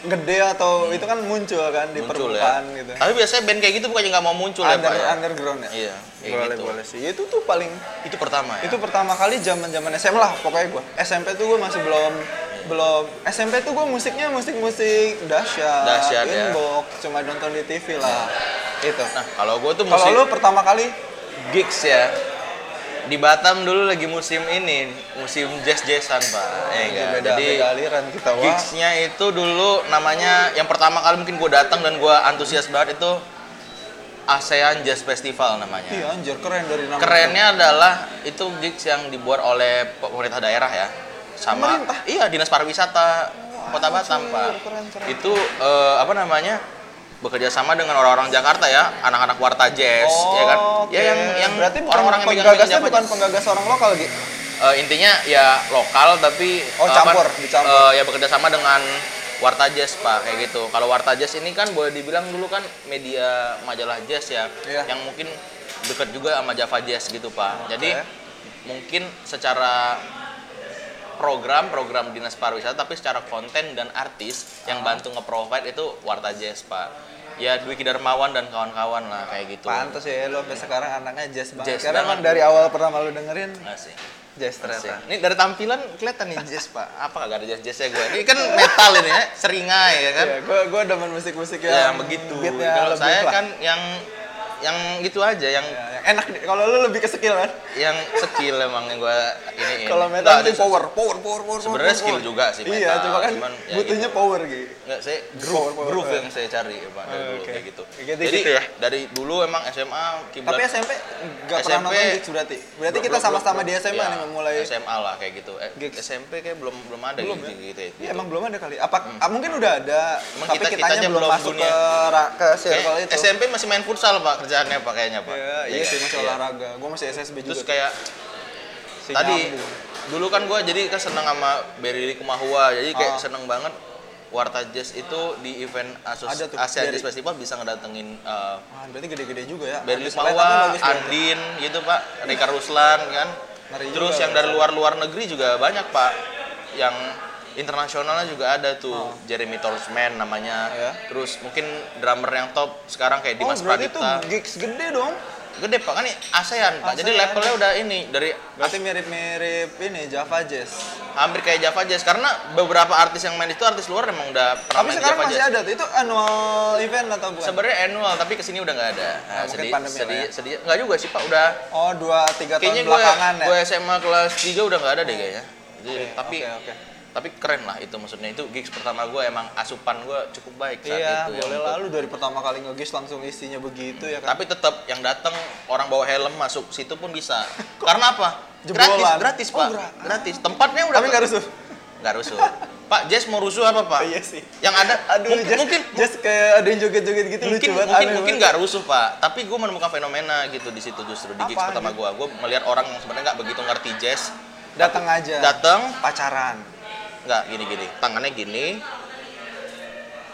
gede atau itu kan muncul kan di muncul ya. permukaan gitu Tapi biasanya band kayak gitu bukan nggak mau muncul ya Under, pak ya. underground ya Iya, kayak boleh gitu. boleh sih Ya itu tuh paling Itu pertama ya. itu pertama kali zaman zaman SMA lah pokoknya gua SMP tuh gua masih belum belum SMP tuh gua musiknya musik musik dahsyat Dahsyat ya. inbox cuma nonton di TV lah itu Nah kalau gue tuh kalau musik lu pertama kali gigs ya. Di Batam dulu lagi musim ini, musim jazz-jazzan pak. Ya, kan? beda Jadi beda aliran kita wah Gigsnya itu dulu namanya yang pertama kali mungkin gue datang dan gue antusias banget itu ASEAN Jazz Festival namanya. iya anjir keren dari nama Kerennya adalah itu gigs yang dibuat oleh pemerintah daerah ya, sama Pemerintah? iya dinas pariwisata Kota Batam pak. keren, keren. Itu eh, apa namanya? bekerja sama dengan orang-orang Jakarta ya, anak-anak warta jazz, ya kan? Oh, oke. Ya yang yang berarti bukan orang-orang yang megang penggagasnya megang bukan jasa- penggagas orang lokal gitu Eh, intinya ya lokal tapi Oh, eh, campur, apa, dicampur. eh, ya bekerja sama dengan Warta Jazz pak kayak gitu kalau Warta Jazz ini kan boleh dibilang dulu kan media majalah jazz ya Iya. yang mungkin dekat juga sama Java Jazz gitu pak Oke. jadi mungkin secara program program dinas pariwisata tapi secara konten dan artis yang Ah. bantu nge-provide itu Warta Jazz pak ya Dwiki Darmawan dan kawan-kawan lah kayak gitu Pantes ya lo sampai sekarang anaknya jazz banget. Jazz Karena banget. emang dari awal pertama lu dengerin Asik. jazz Asik. ternyata. Ini dari tampilan kelihatan nih jazz pak. Apa gak ada jazz jazznya gue? Ini [LAUGHS] kan metal ini ya, seringai ya kan? Iya, gua gua demen musik-musik yang, Ya, begitu. Beatnya Kalau lebih saya pelan. kan yang yang gitu aja, yang Ya, yang enak di- kalau lu lebih ke skill kan. yang skill emang yang gue ini. Kalau metal tuh power, power, power, power. Sebenarnya power, skill power. juga sih Iya, metal, cuma kan cuman ya butuhnya power gitu. Enggak, saya Power, groove, power, groove power. yang saya cari ya, Pak, dari Oh, dulu oke. kayak gitu. Kayak gitu Jadi ya? dari dulu emang SMA kiblat Tapi SMP nggak pernah SMP nonton gigs berarti. Berarti Belum, kita belum, sama-sama belum. di SMA Ya, nih memulai. SMA lah kayak gitu. Eh, Gigs. SMP kayak belum belum ada Belum gitu, ya? gitu, Iya, emang belum ada kali. Apa ah, mungkin udah ada, Emang tapi kita- kitanya kitanya belum belum masuk dunia. ke ra- ke Kayak circle itu. SMP masih main futsal pak kerjaannya pak kayaknya pak. Iya. Iya, iya sih masih olahraga. Gua masih SSB juga. Terus tuh. kayak Si tadi nyambung. dulu kan gue jadi kan seneng sama Berry Kumahua jadi kayak Ah. seneng banget Warta Jazz itu di event Asus Ada tuh, ASEAN Berry. Jazz Festival bisa ngedatengin uh, Wah, berarti gede-gede juga ya. Berry Andis Letan tuh Kumahua, bagus berarti. Andin gitu pak, Rika Ruslan kan. Ngeri Terus juga, yang dari luar-luar negeri juga banyak pak, yang internasionalnya juga ada tuh Jeremy Torsman namanya. Oh. Iya. Terus mungkin drummer yang top sekarang kayak Oh, Dimas berarti itu Pradipta. gigs gede dong. gede pak kan ini ASEAN pak. Jadi ASEAN. levelnya udah ini dari Berarti mirip-mirip ini Java Jazz. hampir kayak Java Jazz karena beberapa artis yang main itu artis luar memang udah pernah Tapi main sekarang Java masih Jazz. ada tuh. Itu annual event atau bukan? Sebenarnya annual tapi kesini udah nggak ada. Nah, Ah, mungkin sedih, pandemi lah sedih, ya. sedih. Nggak juga sih pak udah. oh, 2 3 tahun Kayaknya gue belakangan ya. gue SMA kelas 3 udah nggak ada deh kayaknya. Jadi, Oke, tapi oke, oke. tapi keren lah itu maksudnya itu gigs pertama gue emang asupan gue cukup baik saat Iya, itu. ya, boleh untuk- lalu dari pertama kali ngegis langsung isinya begitu ya kan. Tapi tetap yang datang orang bawa helm masuk situ pun [LAUGHS] bisa. Karena apa? Jebolan. Gratis, gratis Oh, pak, gra- gratis. Tempatnya udah Tapi nggak rusuh. Nggak rusuh. pak, Jazz mau rusuh apa pak? Iya sih. Yang ada, Aduh, mungkin, Jazz, mungkin, Jazz kayak ada yang joget-joget gitu mungkin, lucu banget. mungkin, aneh mungkin banget. nggak rusuh pak. Tapi gue menemukan fenomena gitu di situ justru di gigs Apaan pertama gue. Gue melihat orang yang sebenarnya nggak begitu ngerti jazz. datang aja. Datang, pacaran. nggak gini-gini. Tangannya gini.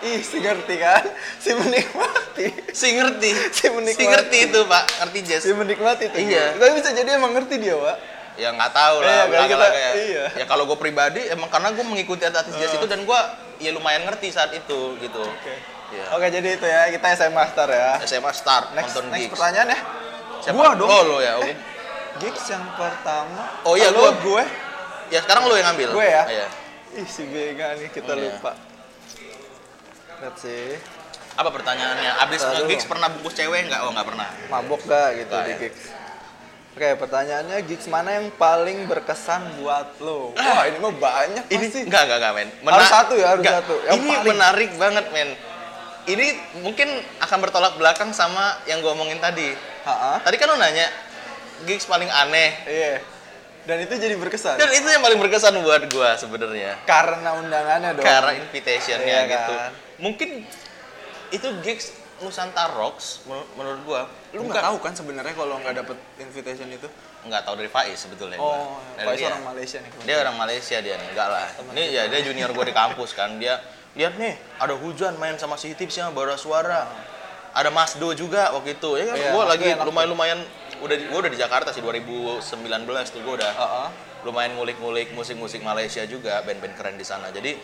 Ih, si ngerti kan? Si menikmati. Si ngerti, [LAUGHS] Si menikmati. si ngerti itu pak, ngerti jazz. Si menikmati tuh. Iya. Tapi bisa jadi emang ngerti dia, Wak. ya nggak tahu lah Iya, kan belakang- kita- belakang ya. iya. ya kalau gue pribadi emang karena gue mengikuti artis jazz itu dan gue ya lumayan ngerti saat itu gitu Oke. Iya. Oke, jadi itu ya. Kita SMA Star ya. SMA start Next, nonton next gigs pertanyaan ya. Siapa? Gua dong. oh lo ya [LAUGHS] oh. Eh, gigs yang pertama. Oh iya, Halo, gua. gue. ya sekarang lo yang ngambil Gue ya? Iya. Ih, si Vega nih kita Iya. lupa. Let's see. apa pertanyaannya abis Ntar dulu. gigs pernah bungkus cewek nggak oh nggak pernah Mabok gak gitu Nah, di ya. gigs? Oke, pertanyaannya gigs mana yang paling berkesan buat lo? Wah, ini mah banyak ini pasti. nggak nggak nggak men Harus satu ya, harus nggak. satu. Yang ini paling- menarik banget men ini mungkin akan bertolak belakang sama yang gue omongin tadi Ha-ha. tadi kan lo nanya gigs paling aneh Iya. Dan itu jadi berkesan. dan itu yang paling berkesan buat gue sebenarnya Karena undangannya dong. Karena invitationnya Iya gitu. kan? Mungkin itu gigs Nusantara Rocks menur- menurut gua. Lu nggak tahu kan sebenarnya kalau nggak dapet invitation itu? nggak tahu dari Faiz sebetulnya Oh, gua. Dari Faiz dia. orang Malaysia nih. Dia orang Malaysia dia nih, enggak lah. Ini ya dia junior gua di kampus kan. Dia lihat nih ada hujan main sama si Hitip sama Bara Suara. Ada Mas Do juga waktu itu. Ya kan Iya, gua Mas Do lagi enak tuh. lumayan-lumayan udah di- gua udah di Jakarta sih 2019 tuh gua udah Heeh. lumayan ngulik-ngulik musik-musik Malaysia juga, band-band keren di sana. Jadi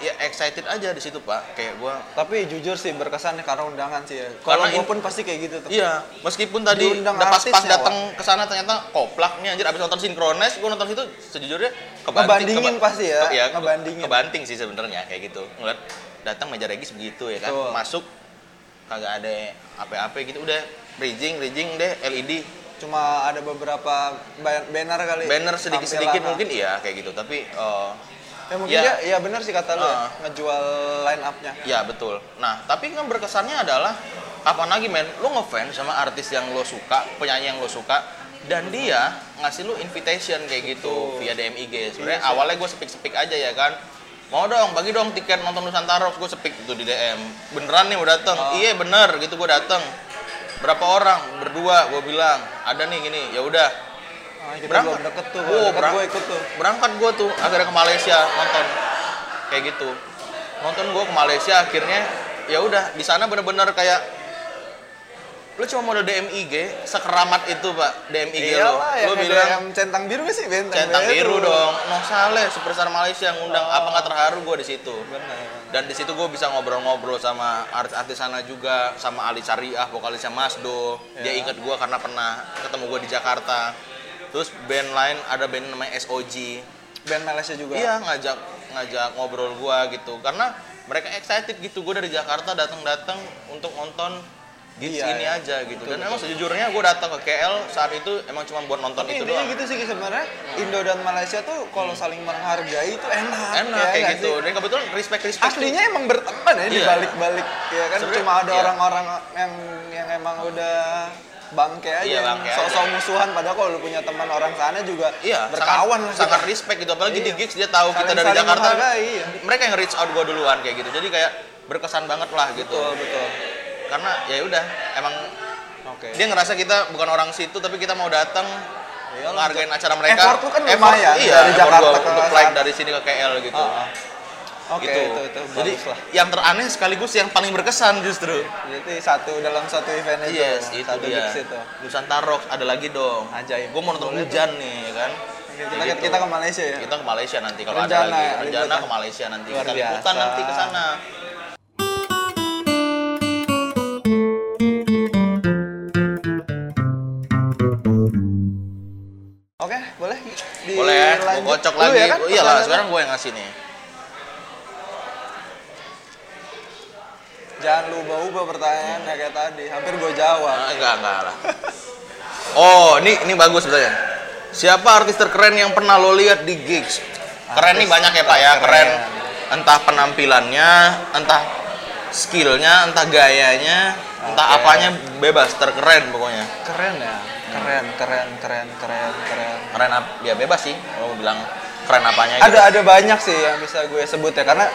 ya excited aja di situ pak, kayak gua. Tapi jujur sih berkesan karena undangan sih ya. Kalau Karena gue in- pun pasti kayak gitu tuh. Iya, meskipun tadi Diundang ya, udah pas-pas artisnya, datang ke sana ternyata koplak nih anjir abis nonton sinkronis, gua nonton situ sejujurnya Ngebandingin keba- pasti ya, Iya, ngebandingin. kebanting sih sebenarnya kayak gitu. Ngeliat datang meja regis begitu ya kan, Betul. masuk kagak ada apa-apa gitu udah bridging bridging deh E LED Cuma ada beberapa ba- banner kali. banner sedikit-sedikit tampilan. mungkin iya kayak gitu tapi eh, Ya mungkin Ya. dia, ya benar sih kata lu ya, Ah. ngejual line up-nya. Ya betul. Nah tapi kan berkesannya adalah kapan lagi men, lo ngefans sama artis yang lo suka, penyanyi yang lo suka, dan dia ngasih lo invitation kayak gitu via DM IG. Sebenarnya awalnya gue sepik-sepik aja ya kan. Mau dong, bagi dong tiket nonton Nusantara Rocks, gue sepik gitu di DM. Beneran nih mau dateng? Iya bener, gitu gue dateng. Berapa orang? Berdua, gue bilang. Ada nih gini, ya udah. Ah, kita Berangkat. belum deket tuh. Oh, kalau deket berang- gue ikut tuh. berangkat gue tuh akhirnya ke Malaysia nonton kayak gitu nonton gue ke Malaysia akhirnya ya udah di sana bener-bener kayak lu cuma modal DM IG sekeramat itu pak DM IG lo Iyalah, yang Iya, lu ada bilang ya yang centang biru nggak sih benteng? centang biru dong no saleh superstar Malaysia ngundang apa nggak terharu gue di situ Benar. dan di situ gue bisa ngobrol-ngobrol sama artis-artis sana juga sama Ali Syariah vokalisnya Masdo dia Ya. inget gue karena pernah ketemu gue di Jakarta terus band lain ada band namanya SOG Band Malaysia juga. iya ngajak ngajak ngobrol gue gitu karena mereka excited gitu gue dari Jakarta datang-datang untuk nonton gigs Iya, ini iya. aja gitu Betul, dan emang sejujurnya gue datang ke KL saat itu emang cuma buat nonton Tapi itu intinya doang Hmm. gitu sih sebenarnya Indo dan Malaysia tuh kalau saling menghargai itu enak. enak ya kayak nggak gitu sih? dan kebetulan respect respect Aslinya emang berteman ya di Iya. balik-balik ya kan Sebenarnya, cuma ada iya. orang-orang yang yang emang udah bangke aja, Iya, yang bangke sok-sok aja. musuhan padahal kalau lu punya teman orang sana juga Iya, berkawan sangat, lah sangat kita. respect gitu. Apalagi di Iya. gigs dia tahu kita Saling- dari saling Jakarta. menghargai, iya. Mereka yang reach out gue duluan kayak gitu. Jadi kayak berkesan banget lah gitu. Betul, betul. Karena ya udah emang Oke. dia ngerasa kita bukan orang situ tapi kita mau datang Iyalah, menghargain acara mereka. effort lu kan lumayan iya, dari effort Jakarta gua ke untuk flight sana. dari sini ke KL gitu. Ah, ah. Oke, gitu. itu itu Jadi bagus lah. yang teraneh sekaligus yang paling berkesan justru. Jadi satu dalam satu event itu, Yes, itu satu dia. gigs itu. Nusantara Rocks ada lagi dong. Ajaib. Gue mau nonton Boleh hujan nih ya kan. Oke, kita, Kayak gitu. kita ke Malaysia ya. kita ke Malaysia nanti kalau ada Rencana lagi ya, rencana liputan. ke Malaysia nanti Luar kita liputan biasa. nanti ke sana boleh, gue kocok Lu lagi. ya kan Oh, iyalah, pertanyaannya? sekarang gue yang ngasih nih. Jangan lu ubah-ubah pertanyaannya kayak tadi. Hampir gue jawab. Ah, enggak, enggak lah. Oh, ini ini bagus sebenarnya. Siapa artis terkeren yang pernah lo lihat di gigs? Keren nih Artis banyak ya Pak ya, keren. terkeren. iya. Entah penampilannya, entah skillnya, entah gayanya, entah Oke. apanya bebas, terkeren pokoknya. Keren ya. Keren, keren, keren, keren, keren. Keren ap- ya bebas sih, lo mau bilang keren apanya gitu. Ada ada banyak sih yang bisa gue sebut ya karena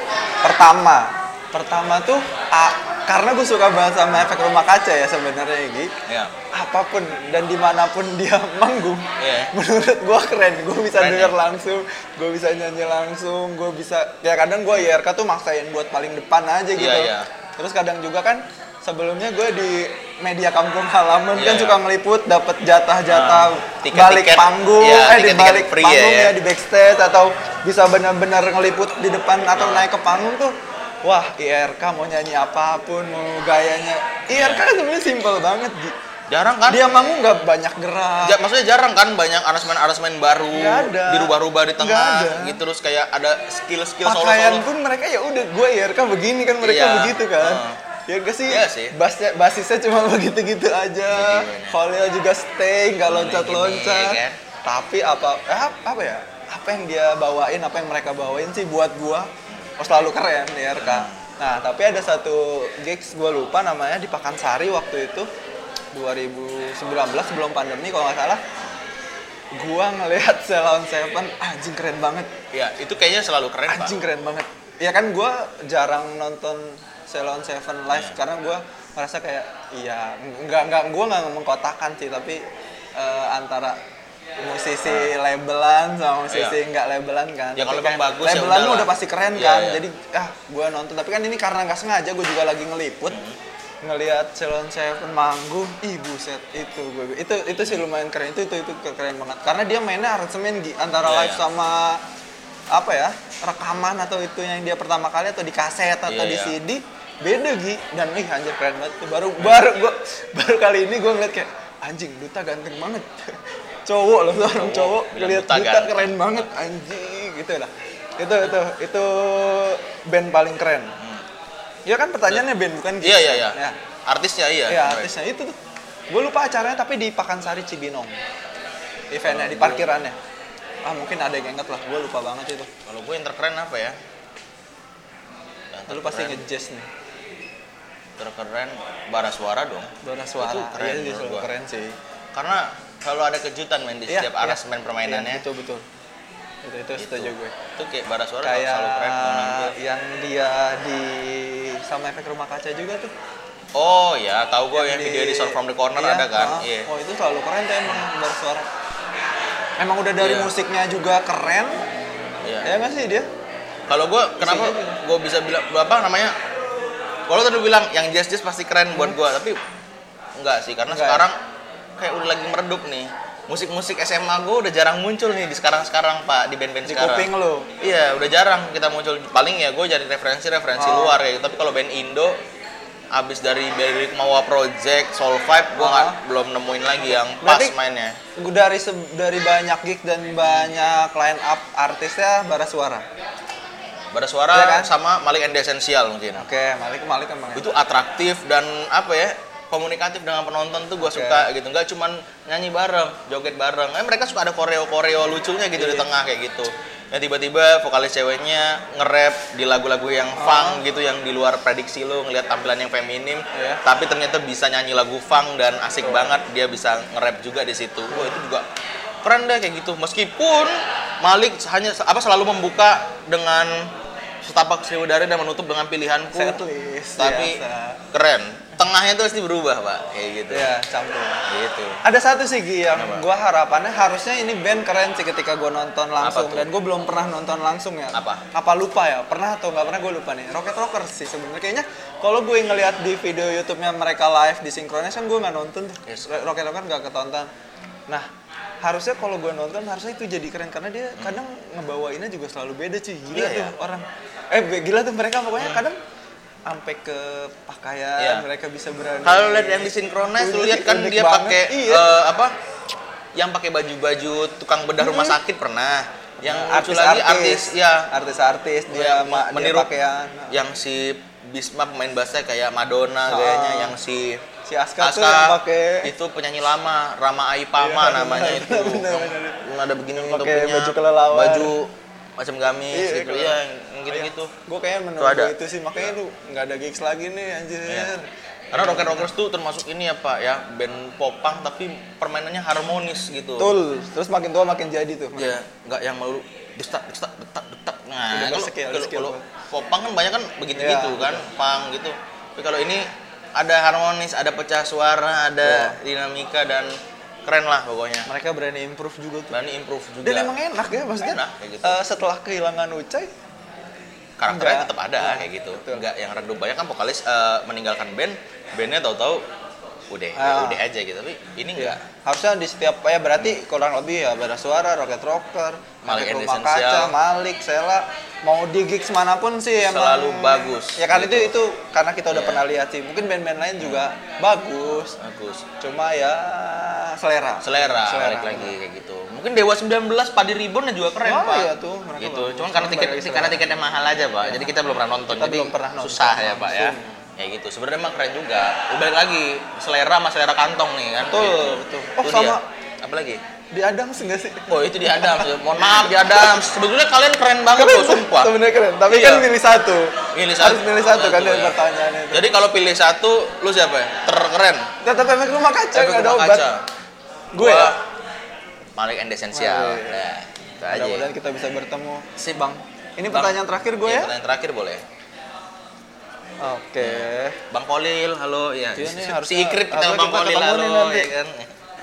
pertama pertama tuh A, karena gue suka banget sama efek rumah kaca ya sebenarnya Gi. Ya. apapun dan dimanapun dia [LAUGHS] manggung Iya. menurut gua keren gue bisa Keren, denger ya? langsung gue bisa nyanyi langsung gue bisa ya kadang gua IRK tuh maksain buat paling depan aja gitu Iya, iya. terus kadang juga kan sebelumnya gue di media kampung halaman kan Iya, iya. suka ngeliput dapat jatah-jatah Ah, balik tiket-tiket. panggung Iya, eh di tiket-tiket balik free ya, panggung ya. ya, di backstage atau bisa benar-benar ngeliput di depan atau naik ke panggung tuh wah IRK mau nyanyi apapun mau gayanya IRK Iya. sebenarnya simple banget Gi Jarang kan? dia manggung nggak banyak gerak Ja- maksudnya jarang kan banyak aransemen-aransemen baru Nggak ada. dirubah-rubah di Nggak ada. tengah gitu terus kayak ada skill-skill pakaian solo-solo Nah, pun mereka ya udah gue IRK begini kan mereka Iya. begitu kan Heeh. ya gak sih, Iya sih. basnya basisnya cuma [LAUGHS] begitu gitu aja Gini-gini. Khalil juga stay nggak Gini-gini, loncat loncat kan? tapi apa eh, ap- apa ya apa yang dia bawain apa yang mereka bawain sih buat gue oh, selalu keren IRK nah tapi ada satu gigs gue lupa namanya di Pakansari waktu itu 2019 sebelum pandemi kalau nggak salah gua ngelihat Salon Seven anjing keren banget ya itu kayaknya selalu keren Pak. anjing keren banget ya kan gue jarang nonton Ceylon Seven live Iya. karena gue merasa kayak iya nggak nggak gue nggak mengkotakan sih tapi eh, antara musisi labelan sama musisi nggak labelan kan Iya. Ya, kalau Tapi emang kayak bagus ya labelan lu udahlah. udah pasti keren Iya, kan iya. jadi ah gue nonton tapi kan ini karena nggak sengaja gue juga lagi ngeliput Hmm. ngelihat Ceylon Seven manggung ih buset itu gue itu itu sih lumayan keren itu itu itu keren banget karena dia mainnya aransemen Gi, antara Iya, live iya. sama apa ya rekaman atau itu yang dia pertama kali atau di kaset atau Iya, di iya. CD beda Gi dan ih anjir keren banget tuh. baru baru gua baru kali ini gue ngeliat kayak anjing duta ganteng banget [LAUGHS] cowok loh seorang cowok bilang ngeliat Duta duta, ganteng. keren banget anjing gitu lah itu itu itu band paling keren ya kan pertanyaannya band bukan Gi? Hmm. iya iya iya ya artisnya iya ya Keren. artisnya itu tuh gue lupa acaranya tapi di Pakansari Cibinong eventnya di parkirannya ah mungkin ada yang inget lah gue lupa banget itu kalau gue yang terkeren apa ya yang lu pasti terkeren- ngejazz nih terkeren bara suara dong Dona suara Itu keren Iya, dia menurut selalu gua. keren sih karena selalu ada kejutan main di Iya, setiap iya. aransemen permainannya Iya, betul betul itu itu Gitu. setuju gue itu kayak bara suara selalu keren menurut kayak gue. yang dia di sama efek rumah kaca juga tuh oh ya tahu gue yang, di- video di Sound from the corner Iya, ada kan ah. iya oh itu selalu keren tuh emang bersuara emang udah dari Iya. musiknya juga keren iya ya nggak sih dia Kalau gue kenapa Bisa jadi. gue bisa bilang apa namanya? Kalau tadi lu bilang yang jazz jazz pasti keren buat gue, tapi enggak sih karena Hmm. Enggak ya? sekarang kayak udah lagi meredup nih. Musik-musik SMA gue udah jarang muncul nih di sekarang-sekarang pak di band-band di sekarang. kuping lo Iya udah jarang kita muncul. Paling ya gue jadi referensi-referensi Oh. luar ya. Tapi kalau band Indo abis dari Belik Mawa Project, Soul Vibe, gue nggak Oh. belum nemuin lagi yang pas Berarti- mainnya. Gua dari se- dari banyak gig dan banyak line up artisnya bara suara Pada suara Iya kan? sama Malik and the Essential mungkin. oke Malik Malik emang ya. itu atraktif dan apa ya komunikatif dengan penonton tuh gue Oke. suka gitu nggak cuman nyanyi bareng joget bareng eh, mereka suka ada koreo koreo lucunya gitu Iya. di tengah kayak gitu ya tiba-tiba vokalis ceweknya nge-rap di lagu-lagu yang Ah. funk gitu yang di luar prediksi lo ngelihat tampilan yang feminim Iya. tapi ternyata bisa nyanyi lagu funk dan asik banget dia bisa nge-rap juga di situ wah itu juga keren deh kayak gitu meskipun Malik hanya apa selalu membuka dengan setapak Sriwedari dan menutup dengan pilihanku Setlist, tapi biasa. keren tengahnya tuh pasti berubah pak kayak gitu ya campur gitu ada satu sih Gi yang Kenapa? gue harapannya harusnya ini band keren sih ketika gue nonton langsung tuh? dan gue belum pernah nonton langsung ya Apa? lupa ya pernah atau nggak pernah gue lupa nih Rocket Rockers sih sebenarnya kayaknya kalau gue ngelihat di video YouTube-nya mereka live di sinkronis kan gue nggak nonton tuh. Yes. Ro- Rocket Rockers nggak ketonton nah harusnya kalau gue nonton harusnya itu jadi keren karena dia kadang ngebawainnya juga selalu beda cuy gila Hmm. Iya, tuh ya. orang eh be- gila tuh mereka pokoknya kadang sampai ke pakaian Iya. mereka bisa berani kalau lihat yang disinkronis lu lihat kan Unik dia banget. pakai Iya. eh, apa yang pakai baju-baju tukang bedah rumah sakit pernah yang lucu artis, lagi artis artis, ya artis-artis Ya, dia, ma- dia meniru- Iya. pakaian. yang si Bisma pemain bassnya kayak Madonna Ah. kayaknya yang si Si Aska, tuh yang pakai itu penyanyi lama Rama Aipama Iya, namanya benar, itu benar, Yang- benar. yang ada begini Yang untuk pakai baju kelelawar. baju macam gamis Iya, gitu kelelawar. Oh, iya. ya yang gitu-gitu gue kayaknya Tuh ada. menurut itu sih makanya lu nggak ada gigs lagi nih anjir. Iya. karena Rocker Rockers tuh termasuk ini ya Pak ya band popang tapi permainannya harmonis gitu Betul. Terus makin tua makin jadi tuh. ya nggak yang malu destak destak detak detak nah Udah kalau berskill, kalau- berskill. kalau popang kan banyak kan begitu gitu Iya, kan pang gitu tapi kalau ini ada harmonis ada pecah suara Iya. ada dinamika dan keren lah pokoknya Mereka berani improve juga tuh. berani improve juga Dan emang enak ya maksudnya. Enak, kayak gitu. eh, setelah kehilangan Ucai, karakternya enggak. tetap ada Nah, kayak gitu betul. nggak yang redup banyak kan vokalis eh, meninggalkan band bandnya tahu-tahu udah ya Ah. Iya. udah aja gitu tapi ini enggak harusnya di setiap ya berarti kurang lebih ya ada suara, rocket rocker, Efek Malik and rumah Essential. kaca, Malik, Sela, mau di gigs manapun sih emang Selalu bagus, Ya kan gitu. itu itu karena kita udah Iya. pernah lihat sih. Mungkin band-band lain juga bagus, bagus cuma ya selera. selera, balik lagi kayak gitu mungkin Dewa 19 Padi Ribbon juga keren Wah, pak iya tuh, mereka gitu bagus. cuman karena Cuman tiket balik lagi karena selera. tiketnya mahal aja pak jadi kita belum pernah nonton Kita jadi belum pernah nonton susah ya pak ya langsung. kayak gitu sebenarnya emang keren juga Ya, balik lagi selera sama selera kantong nih kan Betul, Gitu. betul. Itu Oh, sama. dia. apa lagi Di Adams enggak sih? Oh itu di Adams, mohon maaf di Adams. Sebetulnya kalian keren banget Keren, loh, sumpah. Sebenarnya keren, tapi Iya. kan milih satu. Milih Harus milih satu kan dari ya. pertanyaannya itu. Jadi kalau pilih satu, lu siapa ya? Terkeren. Tetap efek rumah kaca Efek enggak ada rumah obat. kaca. Gue ya. Oh, iya, Gua Malik and Essential. Malik. Nah, itu aja. Mudah-mudahan kita bisa bertemu. Si Bang. Ini pertanyaan terakhir gue Iya, ya. Pertanyaan terakhir boleh. Oke. Bang Kolil, halo. Ya, Iya si- nih, si harusnya- Ikrit kita sama harusnya Bang kita Kolil, ketemu halo. nih nanti. Ya kan?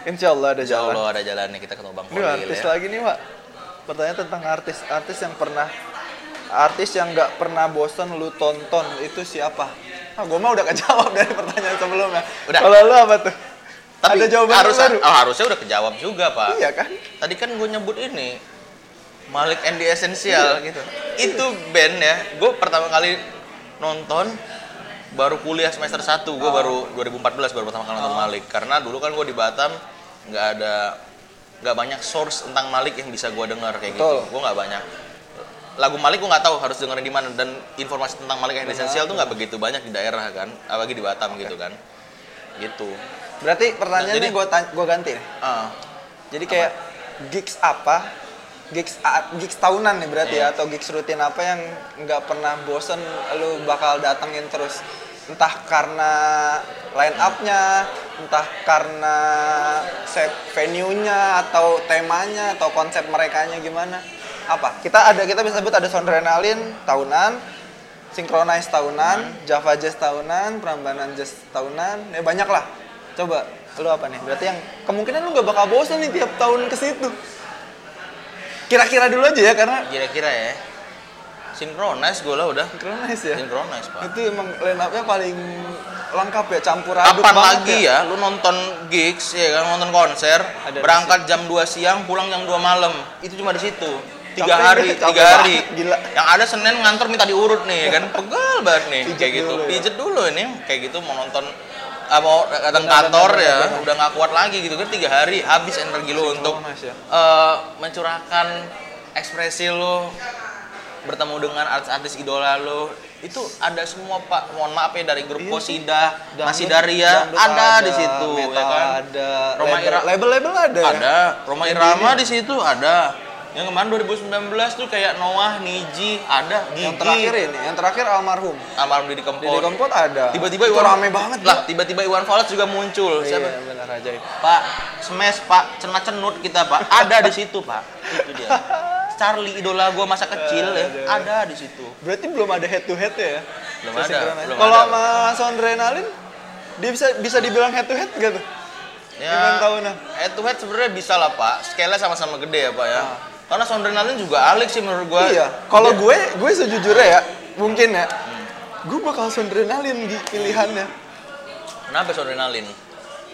Insya Allah ada Insya jalan. Allah ada jalannya kita ketemu Bang Ini Kolil artis ya. lagi nih, Pak. Pertanyaan tentang artis, artis yang pernah artis yang nggak pernah bosan lu tonton itu siapa? Ah, gue mah udah kejawab dari pertanyaan sebelumnya. Udah. Kalau lu apa tuh? Tapi ada jawaban harus, baru. oh, harusnya udah kejawab juga, Pak. Iya kan? Tadi kan gue nyebut ini Malik and the Essential gitu. Itu band ya. Gue pertama kali nonton baru kuliah semester 1. Gue baru 2014 baru pertama kali nonton Malik karena dulu kan gue di Batam nggak ada nggak banyak source tentang Malik yang bisa gue dengar kayak Betul. gitu. Gue nggak banyak lagu Malik gue nggak tahu harus dengerin di mana dan informasi tentang Malik and the Essential tuh nggak begitu banyak di daerah kan, apalagi di Batam gitu kan. Gitu. Berarti pertanyaannya jadi- gue gue ganti nih. Ah. Jadi kayak gigs apa? Gigs a- gigs tahunan nih berarti ya Iya. atau gigs rutin apa yang nggak pernah bosen lu bakal datengin terus entah karena line up-nya, entah karena set venue-nya atau temanya atau konsep merekanya gimana? Apa? Kita ada kita bisa sebut ada Soundrenalin tahunan, Synchronize tahunan, Java Jazz tahunan, Prambanan Jazz tahunan, ya banyak lah. Coba lu apa nih? Berarti yang kemungkinan lu nggak bakal bosan nih tiap tahun ke situ. Kira-kira dulu aja ya karena kira-kira ya sinkronis gue lah udah Synchronize ya. sinkronis pak Itu emang line up-nya paling lengkap ya, campur aduk kapan banget lagi ya? lu nonton gigs ya kan nonton konser Ada di berangkat jam 2 siang pulang jam 2 malam itu cuma di situ tiga Capek hari nggak? tiga Capek hari banget, gila. yang ada senin ngantor minta diurut nih [LAUGHS] kan pegel banget nih Pijet kayak gitu dulu ya. pijet dulu ini kayak gitu mau nonton ah, mau datang Benar, kantor benar, ya benar, benar. udah nggak kuat lagi gitu kan tiga hari habis energi lu untuk Mas, ya. eh, mencurahkan ekspresi lu bertemu dengan artis-artis idola lu itu ada semua pak mohon maaf ya dari grup Iya sih. Posida Dangdut- masih Daria dangdut ada, di situ metal ya kan ada, Roma label, Ira- label-label ada, ya? ada Roma Yang Irama ini. di situ ada yang kemarin 2019 tuh kayak Noah Niji ada Gigi Yang terakhir Iya. ini, yang terakhir almarhum. almarhum Didi Kempot Didi Kempot ada. Oh. tiba-tiba itu Iwan rame banget lah gila. tiba-tiba Iwan Fals juga muncul Iya, siapa benar ajaib. Pak Smash Pak cena cenut kita Pak ada di situ Pak itu dia Charlie idola gua masa kecil ya Aduh. ada di situ Berarti belum ada head to head ya? Belum Saya ada, sinkronis. belum Kalau ada. sama Soundrenalin dia bisa bisa dibilang head to head gak tuh? Gimana Ya, tahunnya? head to head sebenarnya bisa lah pak. Scale sama-sama gede ya pak ya. Ah. Karena Soundrenalin juga alik sih menurut gua. Iya. Kalau gue gue sejujurnya ya, mungkin ya. Gue bakal Soundrenalin di pilihannya. Kenapa Soundrenalin?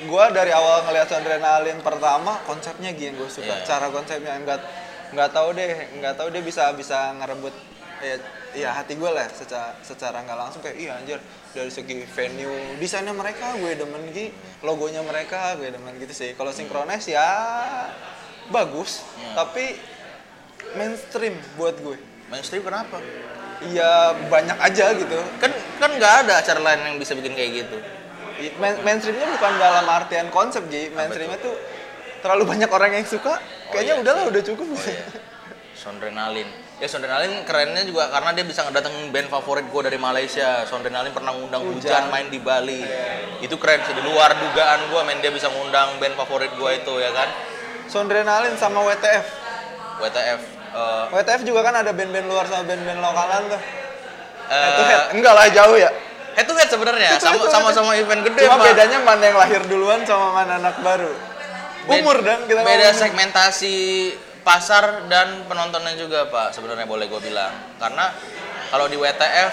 gue dari awal ngelihat adrenalin pertama konsepnya gini gue suka Iya. cara konsepnya nggak nggak tahu deh nggak tahu dia bisa bisa ngerebut ya, ya hati gue lah secara secara nggak langsung kayak iya anjir dari segi venue desainnya mereka gue demen gitu logonya mereka gue demen gitu sih kalau sinkronis ya bagus tapi mainstream buat gue mainstream kenapa iya banyak aja gitu kan kan nggak ada acara lain yang bisa bikin kayak gitu I- Iya, main- mainstreamnya bukan dalam artian konsep Ji mainstreamnya tuh terlalu banyak orang yang suka kayaknya iya udahlah udah cukup oh [LAUGHS] iya Sondrenalin ya Sondrenalin kerennya juga karena dia bisa ngedatengin band favorit gue dari Malaysia Sondrenalin pernah ngundang Hujan. hujan, main di Bali itu keren sih di luar dugaan gue main dia bisa ngundang band favorit gue itu ya kan Sondrenalin sama WTF WTF eh, WTF juga kan ada band-band luar sama band-band lokalan tuh eh, head to head enggak lah jauh ya head to head sebenarnya Head to head, sama head to sama head. sama event gede cuma Pak. bedanya mana yang lahir duluan sama mana anak baru Bed- umur dan kita beda ngomong. segmentasi pasar dan penontonnya juga pak sebenarnya boleh gue bilang karena kalau di WTF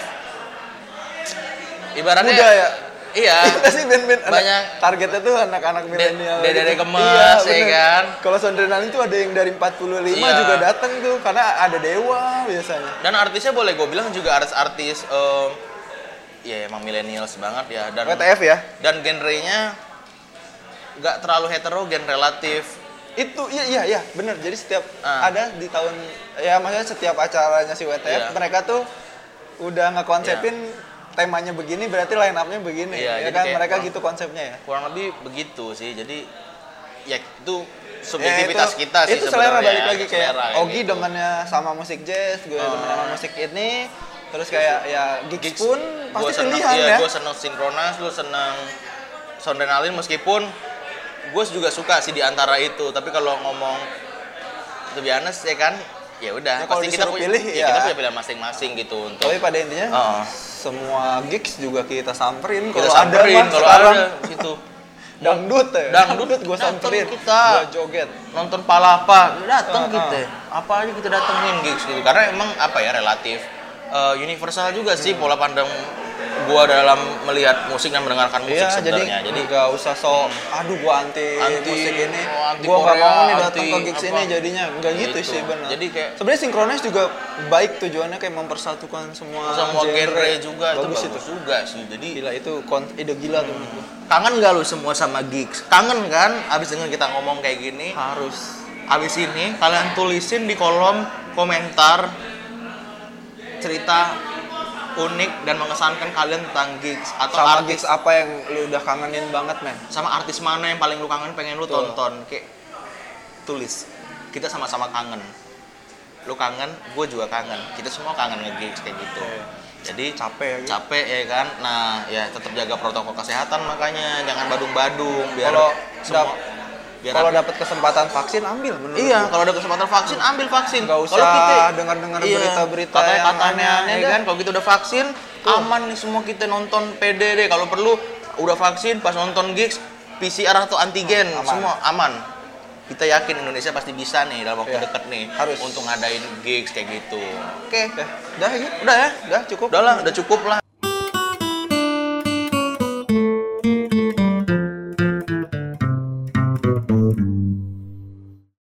ibaratnya Muda ya? [LAUGHS] iya [LAUGHS] kita sih band-band anak- banyak targetnya tuh anak-anak milenial Iya, dede- dede gemes, ya bener. kan? kalau Sondrenalin tuh ada yang dari 45 Iya. juga datang tuh karena ada dewa biasanya dan artisnya boleh gue bilang juga artis-artis em, ya emang millennials banget ya dan WTF ya dan genrenya nggak terlalu heterogen relatif itu iya iya iya benar jadi setiap Ah. ada di tahun ya maksudnya setiap acaranya si WTF Iya. mereka tuh udah ngekonsepin temanya begini berarti line up-nya begini Iya, ya jadi kan kayak mereka kurang- gitu konsepnya ya kurang lebih begitu sih jadi ya itu Ya, subjektivitas kita sih itu selera sebenarnya. balik lagi kayak Selera, Ogi gitu. Ah. demennya sama musik jazz gue demen sama musik ini terus kayak ya gigs, Gigs pun gua pasti seneng, pilihan iya, ya Gue seneng sinkronas, lu seneng sondenalin meskipun gue juga suka sih di antara itu. Tapi kalau ngomong to be honest ya kan, ya udah. Ya, kalau pasti kita disuruh punya, pilih, ya, ya. kita punya pilihan masing-masing gitu untuk. tapi pada intinya Heeh. semua gigs juga kita samperin kita kalau ada samperin, mah kalau sekarang ada gitu. [LAUGHS] dangdut ya Dangdut, gue datang samperin kita. gue joget Nonton palapa, datang Heeh. kita. Apa aja kita datengin gigs gitu. Karena emang apa ya relatif eh, universal juga sih Hmm. pola pandang gua dalam melihat musik dan mendengarkan musik Iya, jadi sebenarnya. Jadi Hmm. nggak usah sok, aduh gua anti, Anti- musik ini, oh, anti gua nggak Korea, mau nih datang ke anti gigs apa. ini jadinya nggak gitu, Gitu. sih benar. Jadi kayak- sebenarnya sinkronis juga baik tujuannya kayak mempersatukan semua semua genre juga itu bagus bagus itu. juga sih jadi Gila itu kon- ide gila tuh menurut gua. kangen gak lu semua sama gigs kangen kan abis dengan kita ngomong kayak gini Harus. abis ini kalian tulisin di kolom komentar cerita unik dan mengesankan kalian tentang gigs atau Sama artis gigs apa yang lu udah kangenin banget men? sama artis mana yang paling lu kangen pengen lu Betul. tonton kayak tulis kita sama-sama kangen lu kangen gue juga kangen kita semua kangen nge-gigs kayak gitu Iya. jadi Capek ya, Gi. capek ya kan nah ya tetap jaga protokol kesehatan makanya jangan badung-badung biar Kalau semua dap- biar Kalau apa- dapat kesempatan vaksin ambil menurut iya gua. kalau ada kesempatan vaksin ambil vaksin Nggak Kalau usah kita- dengar-dengar iya, berita-berita katanya- yang katanya aneh-aneh ya dah. kan kalau kita udah vaksin aman nih semua kita nonton PDD kalau perlu udah vaksin pas nonton gigs PCR atau antigen Aman. semua aman kita yakin Indonesia pasti bisa nih dalam waktu Iya, dekat nih harus. untuk ngadain gigs kayak gitu Oke, dah, dah, ya. udah ya dah cukup. udah lah udah cukup lah